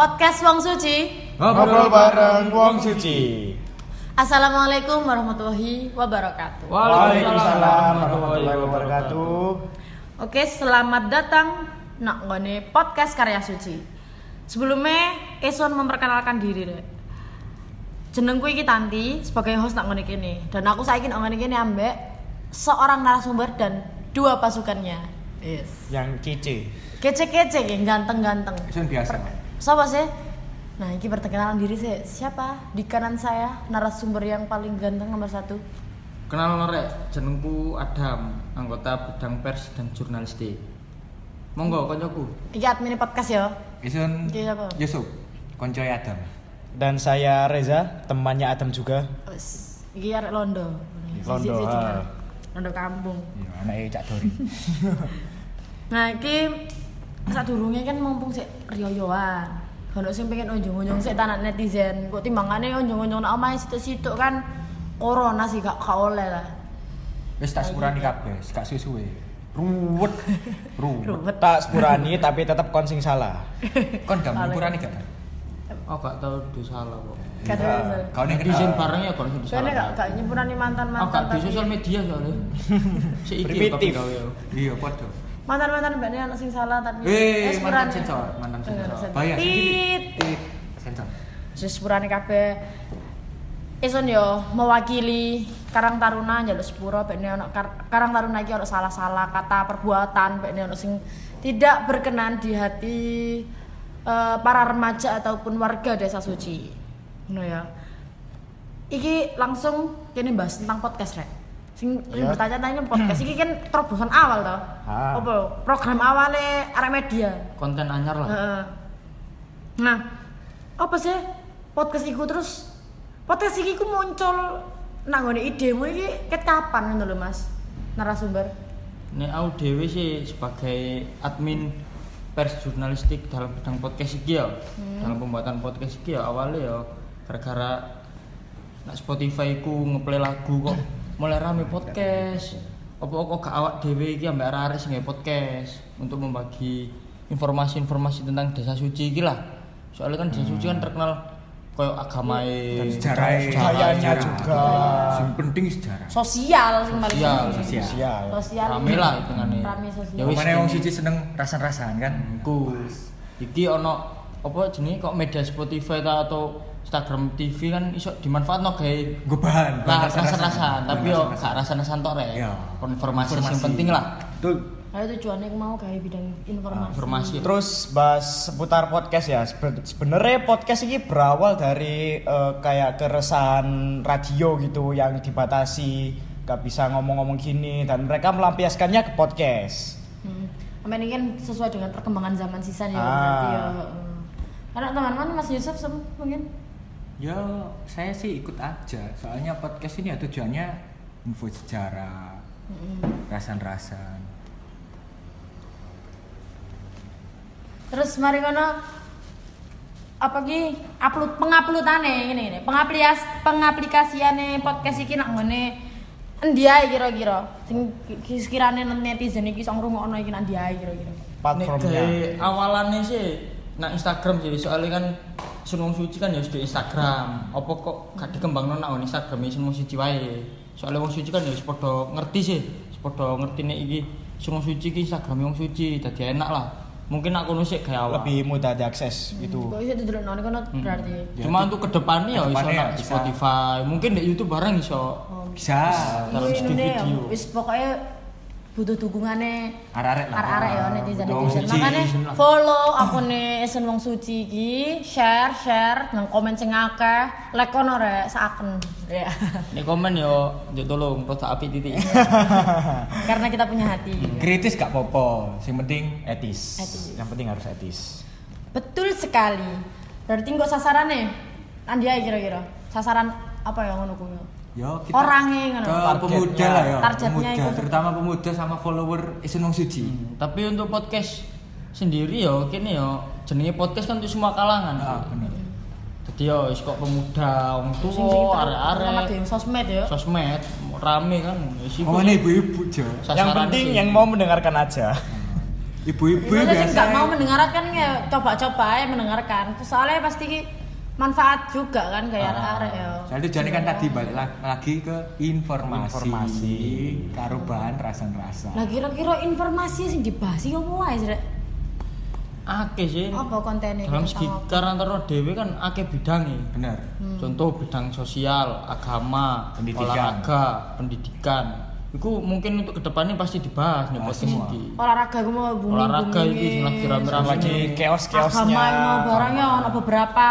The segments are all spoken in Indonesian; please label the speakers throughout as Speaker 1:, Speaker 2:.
Speaker 1: Podcast Wong Suci.
Speaker 2: Ngobrol bareng Wong Suci.
Speaker 1: Assalamualaikum warahmatullahi wabarakatuh.
Speaker 2: Waalaikumsalam warahmatullahi wabarakatuh.
Speaker 1: Oke, selamat datang nak nggone podcast karya Suci. Sebelumnya Eson memperkenalkan diri deh. Jenengku iki Tanti sebagai host nak ngene kene dan aku saiki nak ngene kene ambek seorang narasumber dan dua pasukannya. Yes.
Speaker 2: Yang cici.
Speaker 1: Kece-kece ya, ganteng-ganteng.
Speaker 2: Itu biasa.
Speaker 1: Siapa sih? Nah, ini perkenalan diri saya. Siapa? Di kanan saya, narasumber yang paling ganteng nomor satu.
Speaker 3: Kenal norek, jenengku Adam, anggota bidang pers dan jurnalistik. Monggo koncoku.
Speaker 1: Iki admin podcast ya.
Speaker 4: Isun
Speaker 1: Iki siapa?
Speaker 4: Yusuf, konco Adam.
Speaker 2: Dan saya Reza, temannya Adam juga.
Speaker 1: Wes. Iki arek Londo.
Speaker 2: Londo,
Speaker 1: Siji-siji
Speaker 2: ah.
Speaker 1: kan. Londo kampung.
Speaker 4: Ya, anaknya Cak Dori.
Speaker 1: Nah, iki sadurunge kan mumpung sik riyoyoan. Ono sing pengen onjong-onjong sik tanah netizen. Kok timbangane onjong-onjong nang omahe situ-situ kan corona sih gak gak oleh lah.
Speaker 4: Wis tak sepurani kabeh, gak suwe-suwe. Ruwet. Ruwet.
Speaker 1: Ruwet.
Speaker 2: Tak sepurani tapi tetap konsing salah.
Speaker 4: Kon gak mengkurani gak? Iya.
Speaker 3: Oh, gak tau dosa salah kok.
Speaker 2: Iya.
Speaker 1: Kadang
Speaker 4: Kau ning
Speaker 3: Izin
Speaker 4: kenal.
Speaker 3: bareng ya kalau dosa
Speaker 1: Soalnya gak
Speaker 3: salah.
Speaker 1: gak nyempurani
Speaker 3: Oh,
Speaker 1: mantan-mantan
Speaker 3: gak di
Speaker 1: tapi-
Speaker 3: sosial media soalnya. Si iki
Speaker 2: Primitif.
Speaker 3: kok gawe ya.
Speaker 4: Iya, podo.
Speaker 1: Hmm. mantan-mantan mbaknya anak sing salah tapi
Speaker 4: Eh,
Speaker 1: sepurane.
Speaker 4: mantan sensor, mantan
Speaker 1: Eh,
Speaker 4: sensor.
Speaker 1: sensor.
Speaker 4: Bahaya
Speaker 1: Tit.
Speaker 4: sendiri. Tit. Sensor.
Speaker 1: Terus sepurane kabeh Ison yo mewakili Karang Taruna njaluk sepuro bekne ono Karang Taruna iki ono salah-salah kata perbuatan bekne ono sing tidak berkenan di hati eh, para remaja ataupun warga Desa Suci. Ngono ya. Iki langsung kene bahas tentang podcast rek. Sing sing
Speaker 2: Ya.
Speaker 1: bertanya-tanya podcast iki kan terobosan awal toh.
Speaker 2: Ah.
Speaker 1: Apa program awalnya arek media.
Speaker 3: Konten anyar lah.
Speaker 1: Heeh. Nah, apa sih podcast iku terus podcast iki ku muncul nang ngone idemu iki ket kapan ngono lho Mas? Narasumber.
Speaker 3: Nek aku dhewe sih sebagai admin pers jurnalistik dalam bidang podcast iki ya. Dalam pembuatan podcast iki ya awalnya ya gara-gara nak Spotify ku ngeplay lagu kok mulai rame podcast. Apa kok gak awak dhewe iki ambek arek-arek sing nge podcast untuk membagi informasi-informasi tentang desa suci iki lah. Soalnya kan desa suci kan terkenal koyo agamae
Speaker 1: Iya.
Speaker 4: Dan sejarah
Speaker 2: Bahayanya juga.
Speaker 4: Sing penting sejarah.
Speaker 1: Sosial sing paling
Speaker 3: Sosial,
Speaker 1: penting.
Speaker 3: sosial.
Speaker 2: Sial.
Speaker 1: Sosial.
Speaker 3: Rame lah hitungane.
Speaker 1: Rame sosial.
Speaker 3: Ya wis.
Speaker 4: Kemana Wong Suci seneng rasan-rasan kan?
Speaker 1: Hmm.
Speaker 3: Iku. Iki ono apa jenenge kok media Spotify ta atau Instagram TV kan iso dimanfaatno gawe
Speaker 4: Gue bahan.
Speaker 3: lah
Speaker 4: bahan
Speaker 3: rasa-rasan, tapi yo
Speaker 4: rasan-rasan.
Speaker 3: gak rasa-rasan tok rek.
Speaker 4: Iya.
Speaker 3: Konfirmasi sing
Speaker 4: Informasi.
Speaker 3: penting lah.
Speaker 4: Betul.
Speaker 1: Ayo tujuannya aku mau gawe bidang informasi.
Speaker 3: Ah, Informasi. Terus
Speaker 2: Terus bahas seputar podcast ya. Sebe- Sebenarnya podcast ini berawal dari eh, kayak keresahan radio gitu yang dibatasi, gak bisa ngomong-ngomong gini dan mereka melampiaskannya ke podcast.
Speaker 1: Hmm. Amin ini kan sesuai dengan perkembangan zaman sisa ya
Speaker 2: Ah.
Speaker 1: berarti ya. heeh. Karena teman-teman Mas Yusuf sem- mungkin
Speaker 4: Ya, saya sih ikut aja. Soalnya podcast ini ya tujuannya info sejarah,
Speaker 1: Hmm.
Speaker 4: rasan-rasan.
Speaker 1: Terus mari ngono apa ki upload penguploadane ngene ngene. Pengaplias pengaplikasiane podcast iki nak ngene endi ae kira-kira. Sing ki- sekirane netizen iki iso ngrungokno iki nak endi ae kira-kira.
Speaker 3: nek
Speaker 2: Platformnya.
Speaker 3: gawe awalane sih nang Instagram sih soalnya kan Sunung Suci kan ya wis di Instagram. Apa kok gak dikembangno nang Instagram Sunung Suci wae. Soalnya Wong Suci kan ya wis padha ngerti sih, wis padha ngerti nek iki Sunung Suci ki Instagram ya Wong Suci dadi enak lah. Mungkin aku nulis gawe awal.
Speaker 2: lebih mudah diakses gitu.
Speaker 1: Kok iso didelokno niku no berarti.
Speaker 3: Cuma untuk kedepannya ya iso
Speaker 4: Kedepannya
Speaker 3: nang
Speaker 4: bisa.
Speaker 3: Spotify, mungkin di YouTube bareng iso.
Speaker 4: Bisa.
Speaker 3: Dalam
Speaker 1: Iki
Speaker 3: segi
Speaker 1: ngene ya,
Speaker 3: video.
Speaker 1: wis pokoke butuh dukungannya
Speaker 4: Arek-arek lah.
Speaker 1: arek-arek ya netizen
Speaker 4: Wong
Speaker 1: netizen.
Speaker 4: Suci.
Speaker 1: Makanya
Speaker 3: Netizen lah.
Speaker 1: follow akune Esen Wong Suci iki, share share, nang komen sing akeh, like ono rek saken. Ya.
Speaker 3: Nek komen yo njuk tolong produk api titik.
Speaker 1: Karena kita punya hati.
Speaker 4: Kritis gak popo, yang penting
Speaker 2: Etis.
Speaker 1: Etis.
Speaker 2: Yang penting harus etis.
Speaker 1: Betul sekali. Berarti kok sasarannya? Andi ae kira-kira. Sasaran apa ya ngono kuwi?
Speaker 4: ya kita
Speaker 1: Orangnya ngono.
Speaker 4: ke pemuda lah ya,
Speaker 1: Targetnya
Speaker 4: pemuda,
Speaker 1: ikut.
Speaker 4: terutama pemuda sama follower Isun Wong Suci.
Speaker 3: Tapi untuk podcast sendiri yo kini yo jenenge podcast kan untuk semua
Speaker 1: Hmm.
Speaker 3: kalangan.
Speaker 4: Ah, bener.
Speaker 3: Jadi yo wis kok pemuda, wong
Speaker 1: Sing sing
Speaker 3: tua,
Speaker 1: Sama
Speaker 3: arek-arek,
Speaker 1: game sosmed ya.
Speaker 3: sosmed rame kan. Wis iku
Speaker 4: Oh, ini ibu-ibu, Jo.
Speaker 3: sasaran
Speaker 2: yang penting
Speaker 3: sih.
Speaker 2: yang mau mendengarkan aja.
Speaker 1: Ibu
Speaker 4: Ibu-ibu
Speaker 1: sih nggak
Speaker 4: biasa.
Speaker 1: mau mendengarkan ya coba-coba ya mendengarkan. Soalnya pasti ki manfaat juga kan kayak
Speaker 3: Ah.
Speaker 1: arek-arek ya.
Speaker 4: Soalnya Ah. tujuannya kan tadi balik la- lagi ke informasi,
Speaker 2: Informasi.
Speaker 4: karo bahan rasa-rasa.
Speaker 1: Lah kira-kira informasi sing dibahas iki opo wae, Srek?
Speaker 3: Akeh sih.
Speaker 1: Apa kontennya?
Speaker 3: Dalam segi karantina dhewe kan akeh bidange.
Speaker 4: Bener.
Speaker 1: Hmm.
Speaker 3: Contoh bidang sosial, agama,
Speaker 4: Pendidikan.
Speaker 3: olahraga, pendidikan. Itu mungkin untuk kedepannya pasti dibahas nih
Speaker 4: Bahas
Speaker 3: podcast
Speaker 4: semua.
Speaker 3: iki.
Speaker 1: olahraga gue mau booming
Speaker 3: Olahraga iki sing lagi rame-rame.
Speaker 2: lagi keos-keosnya
Speaker 1: agama mau barangnya ono beberapa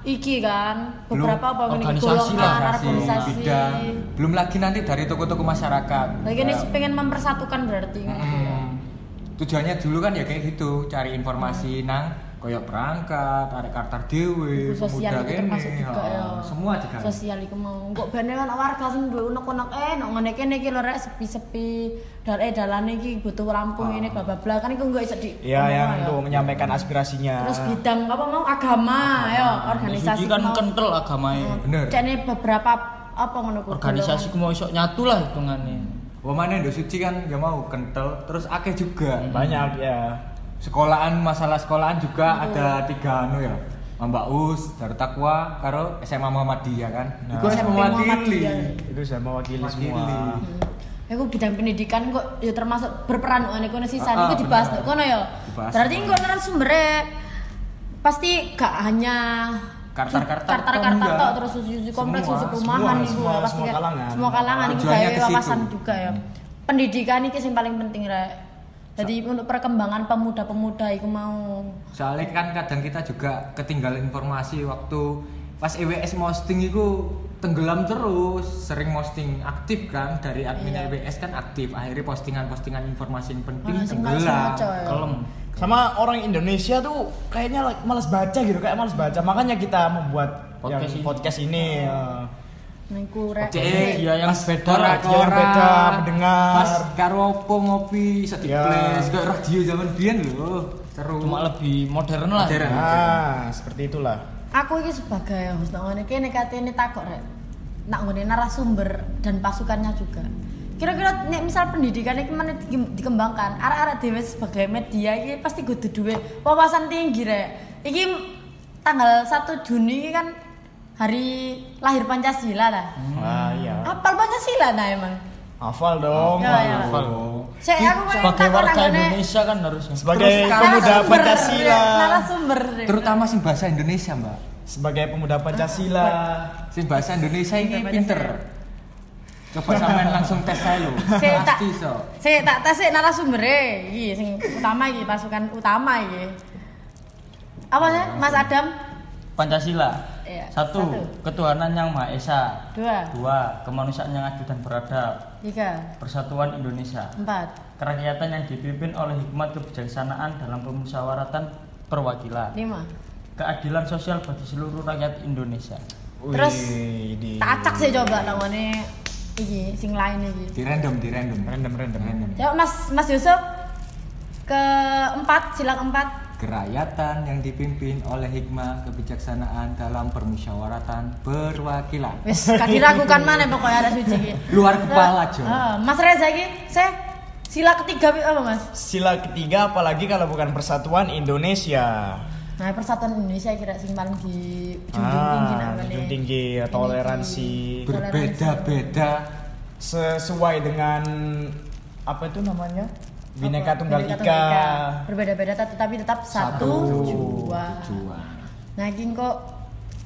Speaker 1: iki kan beberapa apa ini
Speaker 3: organisasi lah,
Speaker 1: golongan, kan, organisasi
Speaker 4: bidang. Belum lagi nanti dari toko-toko masyarakat.
Speaker 1: lagi ini
Speaker 4: Ya.
Speaker 1: pengen mempersatukan berarti
Speaker 4: Hmm. Tujuannya dulu kan ya kayak gitu, cari informasi nang koyok perangkat, tarik kartar
Speaker 1: Hmm. Ibu
Speaker 4: dewe,
Speaker 1: sosial
Speaker 4: pemuda
Speaker 1: itu
Speaker 4: kene,
Speaker 1: termasuk juga
Speaker 4: ha,
Speaker 1: ya.
Speaker 4: semua juga.
Speaker 1: sosial iku mau kok bene ana warga sing duwe unek-unek eh nek ngene kene iki lho rek sepi-sepi dal eh dalane iki butuh lampu
Speaker 4: Ah.
Speaker 1: ini bla bla bla kan iku enggak iso di
Speaker 2: ya yang
Speaker 1: ya.
Speaker 2: untuk menyampaikan aspirasinya
Speaker 1: terus gitu. bidang apa mau agama
Speaker 3: Nah,
Speaker 1: ya organisasi
Speaker 3: Organisasi kan
Speaker 1: mau. Hmm,
Speaker 3: kental agamanya.
Speaker 4: Bener.
Speaker 1: Cene beberapa apa ngono ku
Speaker 3: Organisasi ku mau iso nyatu lah hitungannya.
Speaker 4: Wamane Indo Suci kan ya mau kental, terus akeh juga.
Speaker 2: banyak ya
Speaker 4: Sekolahan masalah sekolahan juga ada tiga anu ya. Mbak Us, Darut Takwa, karo SMA Muhammadiyah kan.
Speaker 2: Nah.
Speaker 4: Iku
Speaker 1: SMP
Speaker 4: SMA
Speaker 1: Muhammadiyah.
Speaker 4: mewakili.
Speaker 2: itu saya mewakili semua
Speaker 4: Mewakili.
Speaker 1: Aku bidang pendidikan kok ya termasuk berperan ngono kono sisa
Speaker 4: Ah, ah,
Speaker 1: niku dibahas
Speaker 4: bener.
Speaker 1: nek kono ya.
Speaker 4: Dibahas.
Speaker 1: Berarti engko narasumbernya pasti gak hanya
Speaker 4: Kartar-kartar
Speaker 1: kartar-kartar
Speaker 4: tok,
Speaker 1: tok
Speaker 4: enggak.
Speaker 1: terus susu-susu kompleks
Speaker 4: Semua,
Speaker 1: susu perumahan
Speaker 2: semua,
Speaker 1: niku
Speaker 2: semua,
Speaker 1: pasti
Speaker 2: semua
Speaker 1: kan.
Speaker 2: kalangan.
Speaker 1: Semua kalangan iku
Speaker 4: Tujuannya
Speaker 1: gawe
Speaker 4: ke situ.
Speaker 1: wawasan juga ya. Pendidikan iki sing paling penting rek. Jadi untuk perkembangan pemuda-pemuda iku mau
Speaker 4: Soalnya kan kadang kita juga ketinggalan informasi waktu pas E EWS posting itu tenggelam terus, sering posting aktif kan dari admin
Speaker 1: Iya.
Speaker 4: EWS kan aktif, akhirnya postingan-postingan informasi yang penting
Speaker 1: Ah, sing paling
Speaker 4: tenggelam.
Speaker 1: sengaja ya.
Speaker 3: Kelem.
Speaker 2: sama orang Indonesia tuh kayaknya like, males baca gitu kayak males baca makanya kita membuat podcast
Speaker 3: Podcast
Speaker 2: yang
Speaker 3: ini.
Speaker 2: podcast ini ya.
Speaker 1: niku rek.
Speaker 4: Cek,
Speaker 1: Sik.
Speaker 3: Dia yang beda
Speaker 4: Ora,
Speaker 2: radio yang
Speaker 4: ora.
Speaker 2: beda, mendengar.
Speaker 4: Pas karo opo ngopi,
Speaker 2: Ya.
Speaker 4: bisa di-place, kayak radio zaman biyen loh. Seru.
Speaker 3: Cuma lebih modern lah.
Speaker 4: Modern.
Speaker 2: nah seperti itulah
Speaker 1: Aku ini sebagai host nang ngene kene katene takok rek. Nak ngene narasumber dan pasukannya juga. Kira-kira nek misal pendidikan iki mana di- dikembangkan, arek-arek dhewe sebagai media iki pasti kudu duwe wawasan tinggi rek. Iki tanggal 1 Juni iki kan hari lahir Pancasila lah.
Speaker 2: ah iya
Speaker 1: Apal Pancasila nah emang.
Speaker 2: hafal dong
Speaker 1: Ya, ya.
Speaker 2: hafal.
Speaker 3: iya.
Speaker 1: Saya aku pengen
Speaker 3: Sebagai
Speaker 1: takok nang
Speaker 3: warga
Speaker 1: ngene.
Speaker 3: Indonesia kan harusnya.
Speaker 2: sebagai
Speaker 4: Terus kalau
Speaker 2: pemuda
Speaker 1: narasumber,
Speaker 2: Eh, Pancasila
Speaker 1: ya, Narasumber. rek.
Speaker 4: Terutama sing bahasa Indonesia, Mbak.
Speaker 2: sebagai pemuda Pancasila
Speaker 4: Sing bahasa Indonesia ini pinter. Coba sampean langsung tes saya lho.
Speaker 1: Saya tak-
Speaker 4: Pasti so.
Speaker 1: Sik tak tes sik narasumbere iki sing utama iki pasukan utama iki. Apa ya Mas Adam?
Speaker 3: Pancasila.
Speaker 1: Iya,
Speaker 3: Satu,
Speaker 1: satu.
Speaker 3: ketuhanan yang maha esa.
Speaker 1: Dua,
Speaker 3: Dua, kemanusiaan yang adil dan beradab.
Speaker 1: tiga,
Speaker 3: Persatuan Indonesia.
Speaker 1: empat,
Speaker 3: Kerakyatan yang dipimpin oleh hikmat kebijaksanaan dalam pemusyawaratan perwakilan.
Speaker 1: lima.
Speaker 3: Keadilan sosial bagi seluruh rakyat Indonesia.
Speaker 1: Terus,
Speaker 2: Wih, di-
Speaker 1: Tak acak sih coba nangone iki sing lain
Speaker 4: Di
Speaker 1: iki.
Speaker 4: random, di random.
Speaker 2: Random, random.
Speaker 4: random.
Speaker 1: Coba Mas Mas Yusuf keempat sila keempat
Speaker 4: Kerakyatan yang dipimpin oleh hikmah kebijaksanaan dalam permusyawaratan perwakilan.
Speaker 1: wis gak diragukan mana pokoknya ada suci iki
Speaker 4: Luar kepala, Jo.
Speaker 1: Heeh, Mas Reza iki saya sila ketiga pi- apa Mas
Speaker 2: sila ketiga apalagi kalau bukan persatuan Indonesia
Speaker 1: Nah, persatuan Indonesia kira sing paling di junjung tinggi
Speaker 2: ah,
Speaker 1: namanya.
Speaker 2: junjung tinggi toleransi
Speaker 4: Berbeda-beda
Speaker 2: sesuai dengan apa itu namanya bineka
Speaker 1: Apa?
Speaker 2: tunggal
Speaker 1: Bineka
Speaker 2: ika
Speaker 1: Berbeda-beda tet- tapi tetap satu tujuan.
Speaker 4: tujuan.
Speaker 1: Nah, ini kok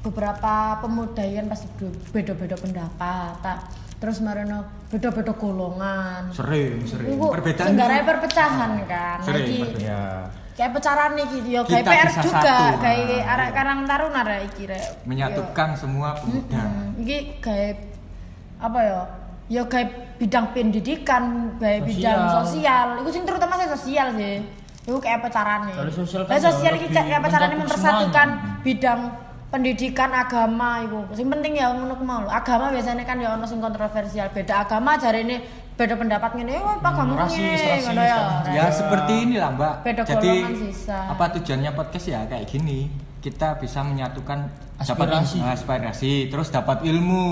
Speaker 1: beberapa pemuda ini kan pasti du- beda-beda pendapat. tak? Terus marono beda-beda golongan.
Speaker 4: Sering, sering.
Speaker 1: Iku
Speaker 4: Perbedaan Ah,
Speaker 1: senggaranya perpecahan kan. Nah,
Speaker 4: Sering,
Speaker 1: iki
Speaker 4: perbedaan.
Speaker 2: ya
Speaker 1: kayak pecaran nih gitu, kayak
Speaker 4: Kita
Speaker 1: PR
Speaker 4: bisa
Speaker 1: juga,
Speaker 4: satu.
Speaker 1: kayak
Speaker 4: Nah,
Speaker 1: arek
Speaker 4: iya.
Speaker 1: karang taruna rek iki rek. Yo.
Speaker 4: menyatukan semua pemuda.
Speaker 1: Hmm, Ini gaib apa ya? Ya gaib bidang pendidikan, gaib
Speaker 3: Sosial.
Speaker 1: bidang sosial. Iku sing terutama saya sosial sih. Iku kayak apa carane?
Speaker 3: Kalau sosial kan
Speaker 1: Lah,
Speaker 3: ya
Speaker 1: sosial iki
Speaker 3: lebih
Speaker 1: kayak apa carane
Speaker 3: mencakup
Speaker 1: mempersatukan
Speaker 3: Hmm.
Speaker 1: bidang pendidikan agama iku. Sing penting ya ngono ku mau. lho. Agama biasanya kan ya ono sing kontroversial. Beda agama jarene beda pendapat ngene. Eh, apa
Speaker 3: Hmm,
Speaker 1: agama ku
Speaker 2: rasis,
Speaker 1: ngene?"
Speaker 2: rasis
Speaker 1: Ngono ya.
Speaker 2: kan.
Speaker 4: Ya seperti inilah Mbak.
Speaker 1: Beda
Speaker 4: Jadi
Speaker 1: golongan sisa.
Speaker 4: apa tujuannya podcast ya kayak gini? Kita bisa menyatukan dapat
Speaker 3: Aspirasi.
Speaker 4: il- aspirasi, terus dapat ilmu.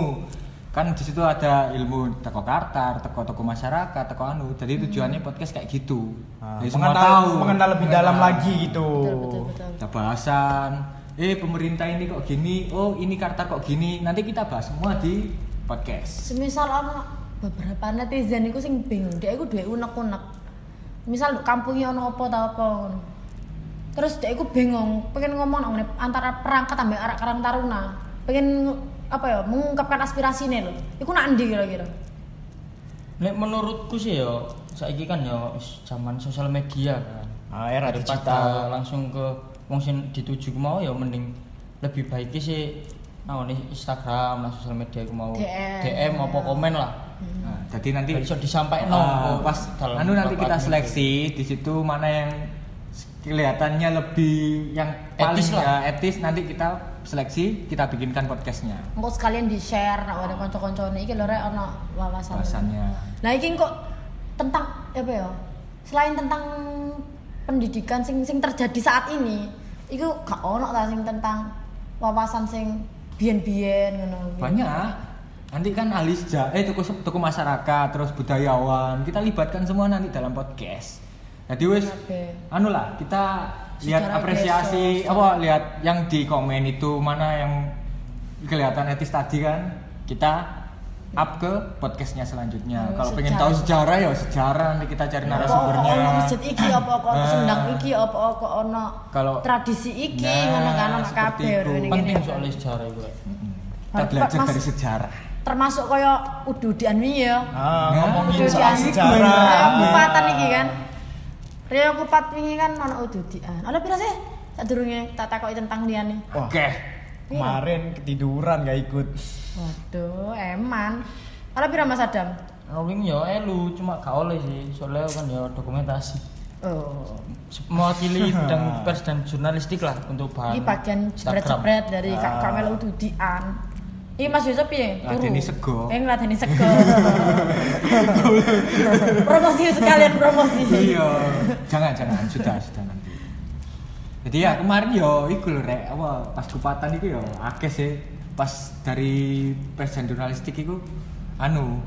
Speaker 4: kan di situ ada ilmu teko kartar, teko toko masyarakat, teko anu. Jadi
Speaker 1: Hmm.
Speaker 4: tujuannya podcast kayak gitu.
Speaker 2: Nah,
Speaker 4: Jadi semua
Speaker 2: mengenal,
Speaker 4: tahu.
Speaker 2: mengenal lebih dalam
Speaker 4: Mengenal.
Speaker 2: lagi gitu.
Speaker 1: Betul, betul, betul.
Speaker 4: Ada bahasan. Eh pemerintah ini kok gini, oh ini kartar kok gini. Nanti kita bahas semua di podcast.
Speaker 1: Semisal ono beberapa netizen iku sing bingung, dia iku duwe unek-unek. Misal nduk kampungnya ono apa ta apa ngono. Terus dia iku bingung, pengen ngomong nang ngene, antara perangkat ambek arak karang taruna. Pengen nge- apa ya, mengungkapkan aspirasine lho. Iku nak ndi kira-kira?
Speaker 3: Nek menurutku sih yo, saiki kan yo wis zaman sosial media kan.
Speaker 2: Ah, era
Speaker 3: Daripada
Speaker 2: digital.
Speaker 3: langsung ke wong sing dituju ku mau ya mending lebih baik ki sih nah ini Instagram lah sosial media ku mau
Speaker 1: DM.
Speaker 3: apa komen lah.
Speaker 1: Hmm.
Speaker 4: Nah, jadi nanti
Speaker 3: Nanti bisa disampaikan
Speaker 4: Ah,
Speaker 3: oh,
Speaker 4: pas
Speaker 3: dalam
Speaker 4: anu nanti
Speaker 3: beberapa
Speaker 4: kita
Speaker 3: menit.
Speaker 4: seleksi di situ mana yang kelihatannya lebih yang paling
Speaker 3: Etis lah.
Speaker 4: ya, etis nanti kita seleksi kita bikinkan podcastnya
Speaker 1: Engko sekalian di-share nak ada kanca-kancane iki lho rek ono wawasan.
Speaker 4: bahasannya
Speaker 1: Nah iki kok tentang apa ya? Selain tentang pendidikan sing sing terjadi saat ini, iku gak ono ta sing tentang wawasan sing biyen-biyen ngono.
Speaker 4: banyak nanti kan ahli sejarah eh toko toko masyarakat terus budayawan kita libatkan semua nanti dalam podcast jadi wes
Speaker 1: Oke.
Speaker 4: anu lah kita lihat
Speaker 1: Sejarah
Speaker 4: apresiasi
Speaker 1: desa,
Speaker 4: apa lihat yang di komen itu mana yang kelihatan etis tadi kan kita up ke podcastnya selanjutnya
Speaker 1: Oh,
Speaker 4: kalau pengen
Speaker 1: sejarah. Iya. Oh,
Speaker 4: tahu sejarah ya sejarah nanti kita cari narasumbernya
Speaker 1: Apa ono masjid iki apa kok
Speaker 4: Ah.
Speaker 1: sendang iki apa kok ono
Speaker 4: Kalau-
Speaker 1: tradisi iki
Speaker 4: Nah,
Speaker 1: ngono kan ono
Speaker 4: seperti
Speaker 1: kabeh
Speaker 4: itu.
Speaker 1: ngene-ngene.
Speaker 3: penting soalnya sejarah itu. Rek.
Speaker 4: kita belajar
Speaker 1: Mas-
Speaker 4: dari sejarah
Speaker 1: termasuk kaya udu dianwi ya.
Speaker 2: Ah,
Speaker 4: Nah,
Speaker 2: ngomongin
Speaker 1: itu
Speaker 2: soal
Speaker 1: dia. Rio
Speaker 2: sejarah.
Speaker 1: Kupatan iki kan. Rio Kupat wingi kan ana ududian. Ana pira sih? Tak durunge tak takoki tentang liyane.
Speaker 2: Wah,
Speaker 4: oke
Speaker 2: kemarin ketiduran gak ikut.
Speaker 1: Waduh, eman. Ana pira Mas Adam?
Speaker 3: Rolling yo ya elu cuma gak oleh sih soalnya kan yo dokumentasi
Speaker 1: Oh,
Speaker 3: mewakili bidang pers dan jurnalistik lah untuk bahan
Speaker 1: ini bagian
Speaker 3: Instagram.
Speaker 1: jebret-jebret dari Kak Kamel ududian. Ini Mas Yusuf piye?
Speaker 4: Ah. Ngladeni sego.
Speaker 1: Eh ngladeni sego. promosi sekalian promosi.
Speaker 4: iya jangan jangan sudah sudah nanti jadi ya kemarin yo iku lho rek apa pas kupatan iku yo akeh sih pas dari presiden jurnalistik iku anu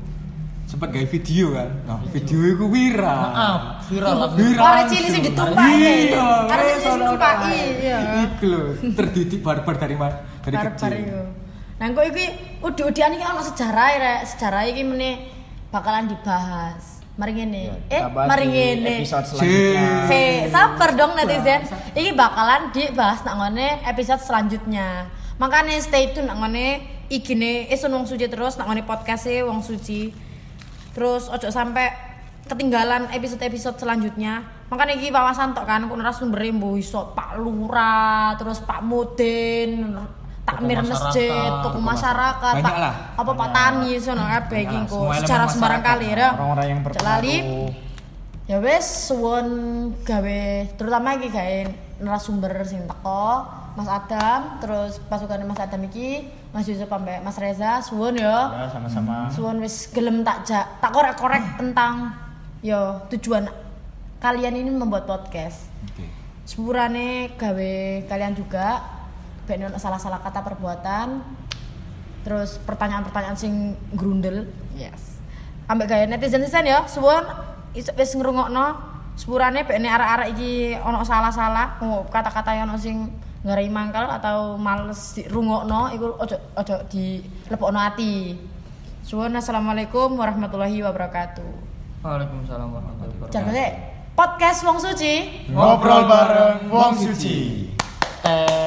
Speaker 4: sempet gawe video kan nah, video iku viral
Speaker 3: Maaf, viral lah.
Speaker 4: viral
Speaker 1: Orang cilik sing ditumpaki.
Speaker 4: iya
Speaker 1: Orang cilik sing
Speaker 4: wes,
Speaker 1: ditumpaki,
Speaker 4: orang-orang.
Speaker 1: iya.
Speaker 4: iku lho terdidik barbar dari mana dari
Speaker 1: barbar
Speaker 4: kecil
Speaker 1: iku. Nah, kok iki udu-udian iki ono sejarah e, rek. Sejarah iki meneh bakalan dibahas. Mari ngene. Eh,
Speaker 2: Kita bahas
Speaker 1: mari
Speaker 2: di
Speaker 1: ngene.
Speaker 2: Episode selanjutnya.
Speaker 1: Se, sabar dong netizen. Iki bakalan dibahas nang ngene episode selanjutnya. Makanya stay tune nang ngene igine Isun Wong Suci terus nang ngene podcast-e Wong Suci. Terus ojo sampai ketinggalan episode-episode selanjutnya. Makanya iki wawasan tok kan kok narasumber mbuh iso Pak Lura, terus Pak Mudin, takmir
Speaker 3: Tokoh
Speaker 1: masjid,
Speaker 3: masyarakat,
Speaker 1: toko
Speaker 4: tokoh
Speaker 1: masyarakat, Pak
Speaker 4: masyarakat. Banyak lah,
Speaker 1: apa Pak Tani sono kabeh iki
Speaker 4: Banyak lah,
Speaker 1: engko.
Speaker 4: semua elemen
Speaker 1: secara sembarang kali
Speaker 4: masyarakat.
Speaker 1: ya.
Speaker 2: Orang-orang yang
Speaker 1: Ojo lali.
Speaker 2: berpengaruh.
Speaker 1: ya wes suwon gawe terutama iki gawe narasumber sing teko Mas Adam terus pasukan Mas Adam iki Mas Yusuf ambek Mas Reza suwon yo
Speaker 2: Ya, sama-sama.
Speaker 1: suwon wis gelem tak ja- tak korek-korek tentang yo tujuan kalian ini membuat podcast
Speaker 4: Oke.
Speaker 1: sepurane gawe kalian juga ben ono salah-salah kata perbuatan terus pertanyaan-pertanyaan sing grundel yes ambek gawe netizen netizen ya suwon is- wis ngrungokno sepurane ben nek arek-arek iki ono salah-salah oh, kata-kata yang ono sing ngarai mangkal atau males di rungokno iku ojo ojo di lepokno ati suwon assalamualaikum warahmatullahi wabarakatuh
Speaker 3: Waalaikumsalam warahmatullahi
Speaker 1: Jangan
Speaker 3: wabarakatuh.
Speaker 1: lupa, podcast Wong Suci
Speaker 2: Ngobrol bareng Wong Suci.
Speaker 3: Eh,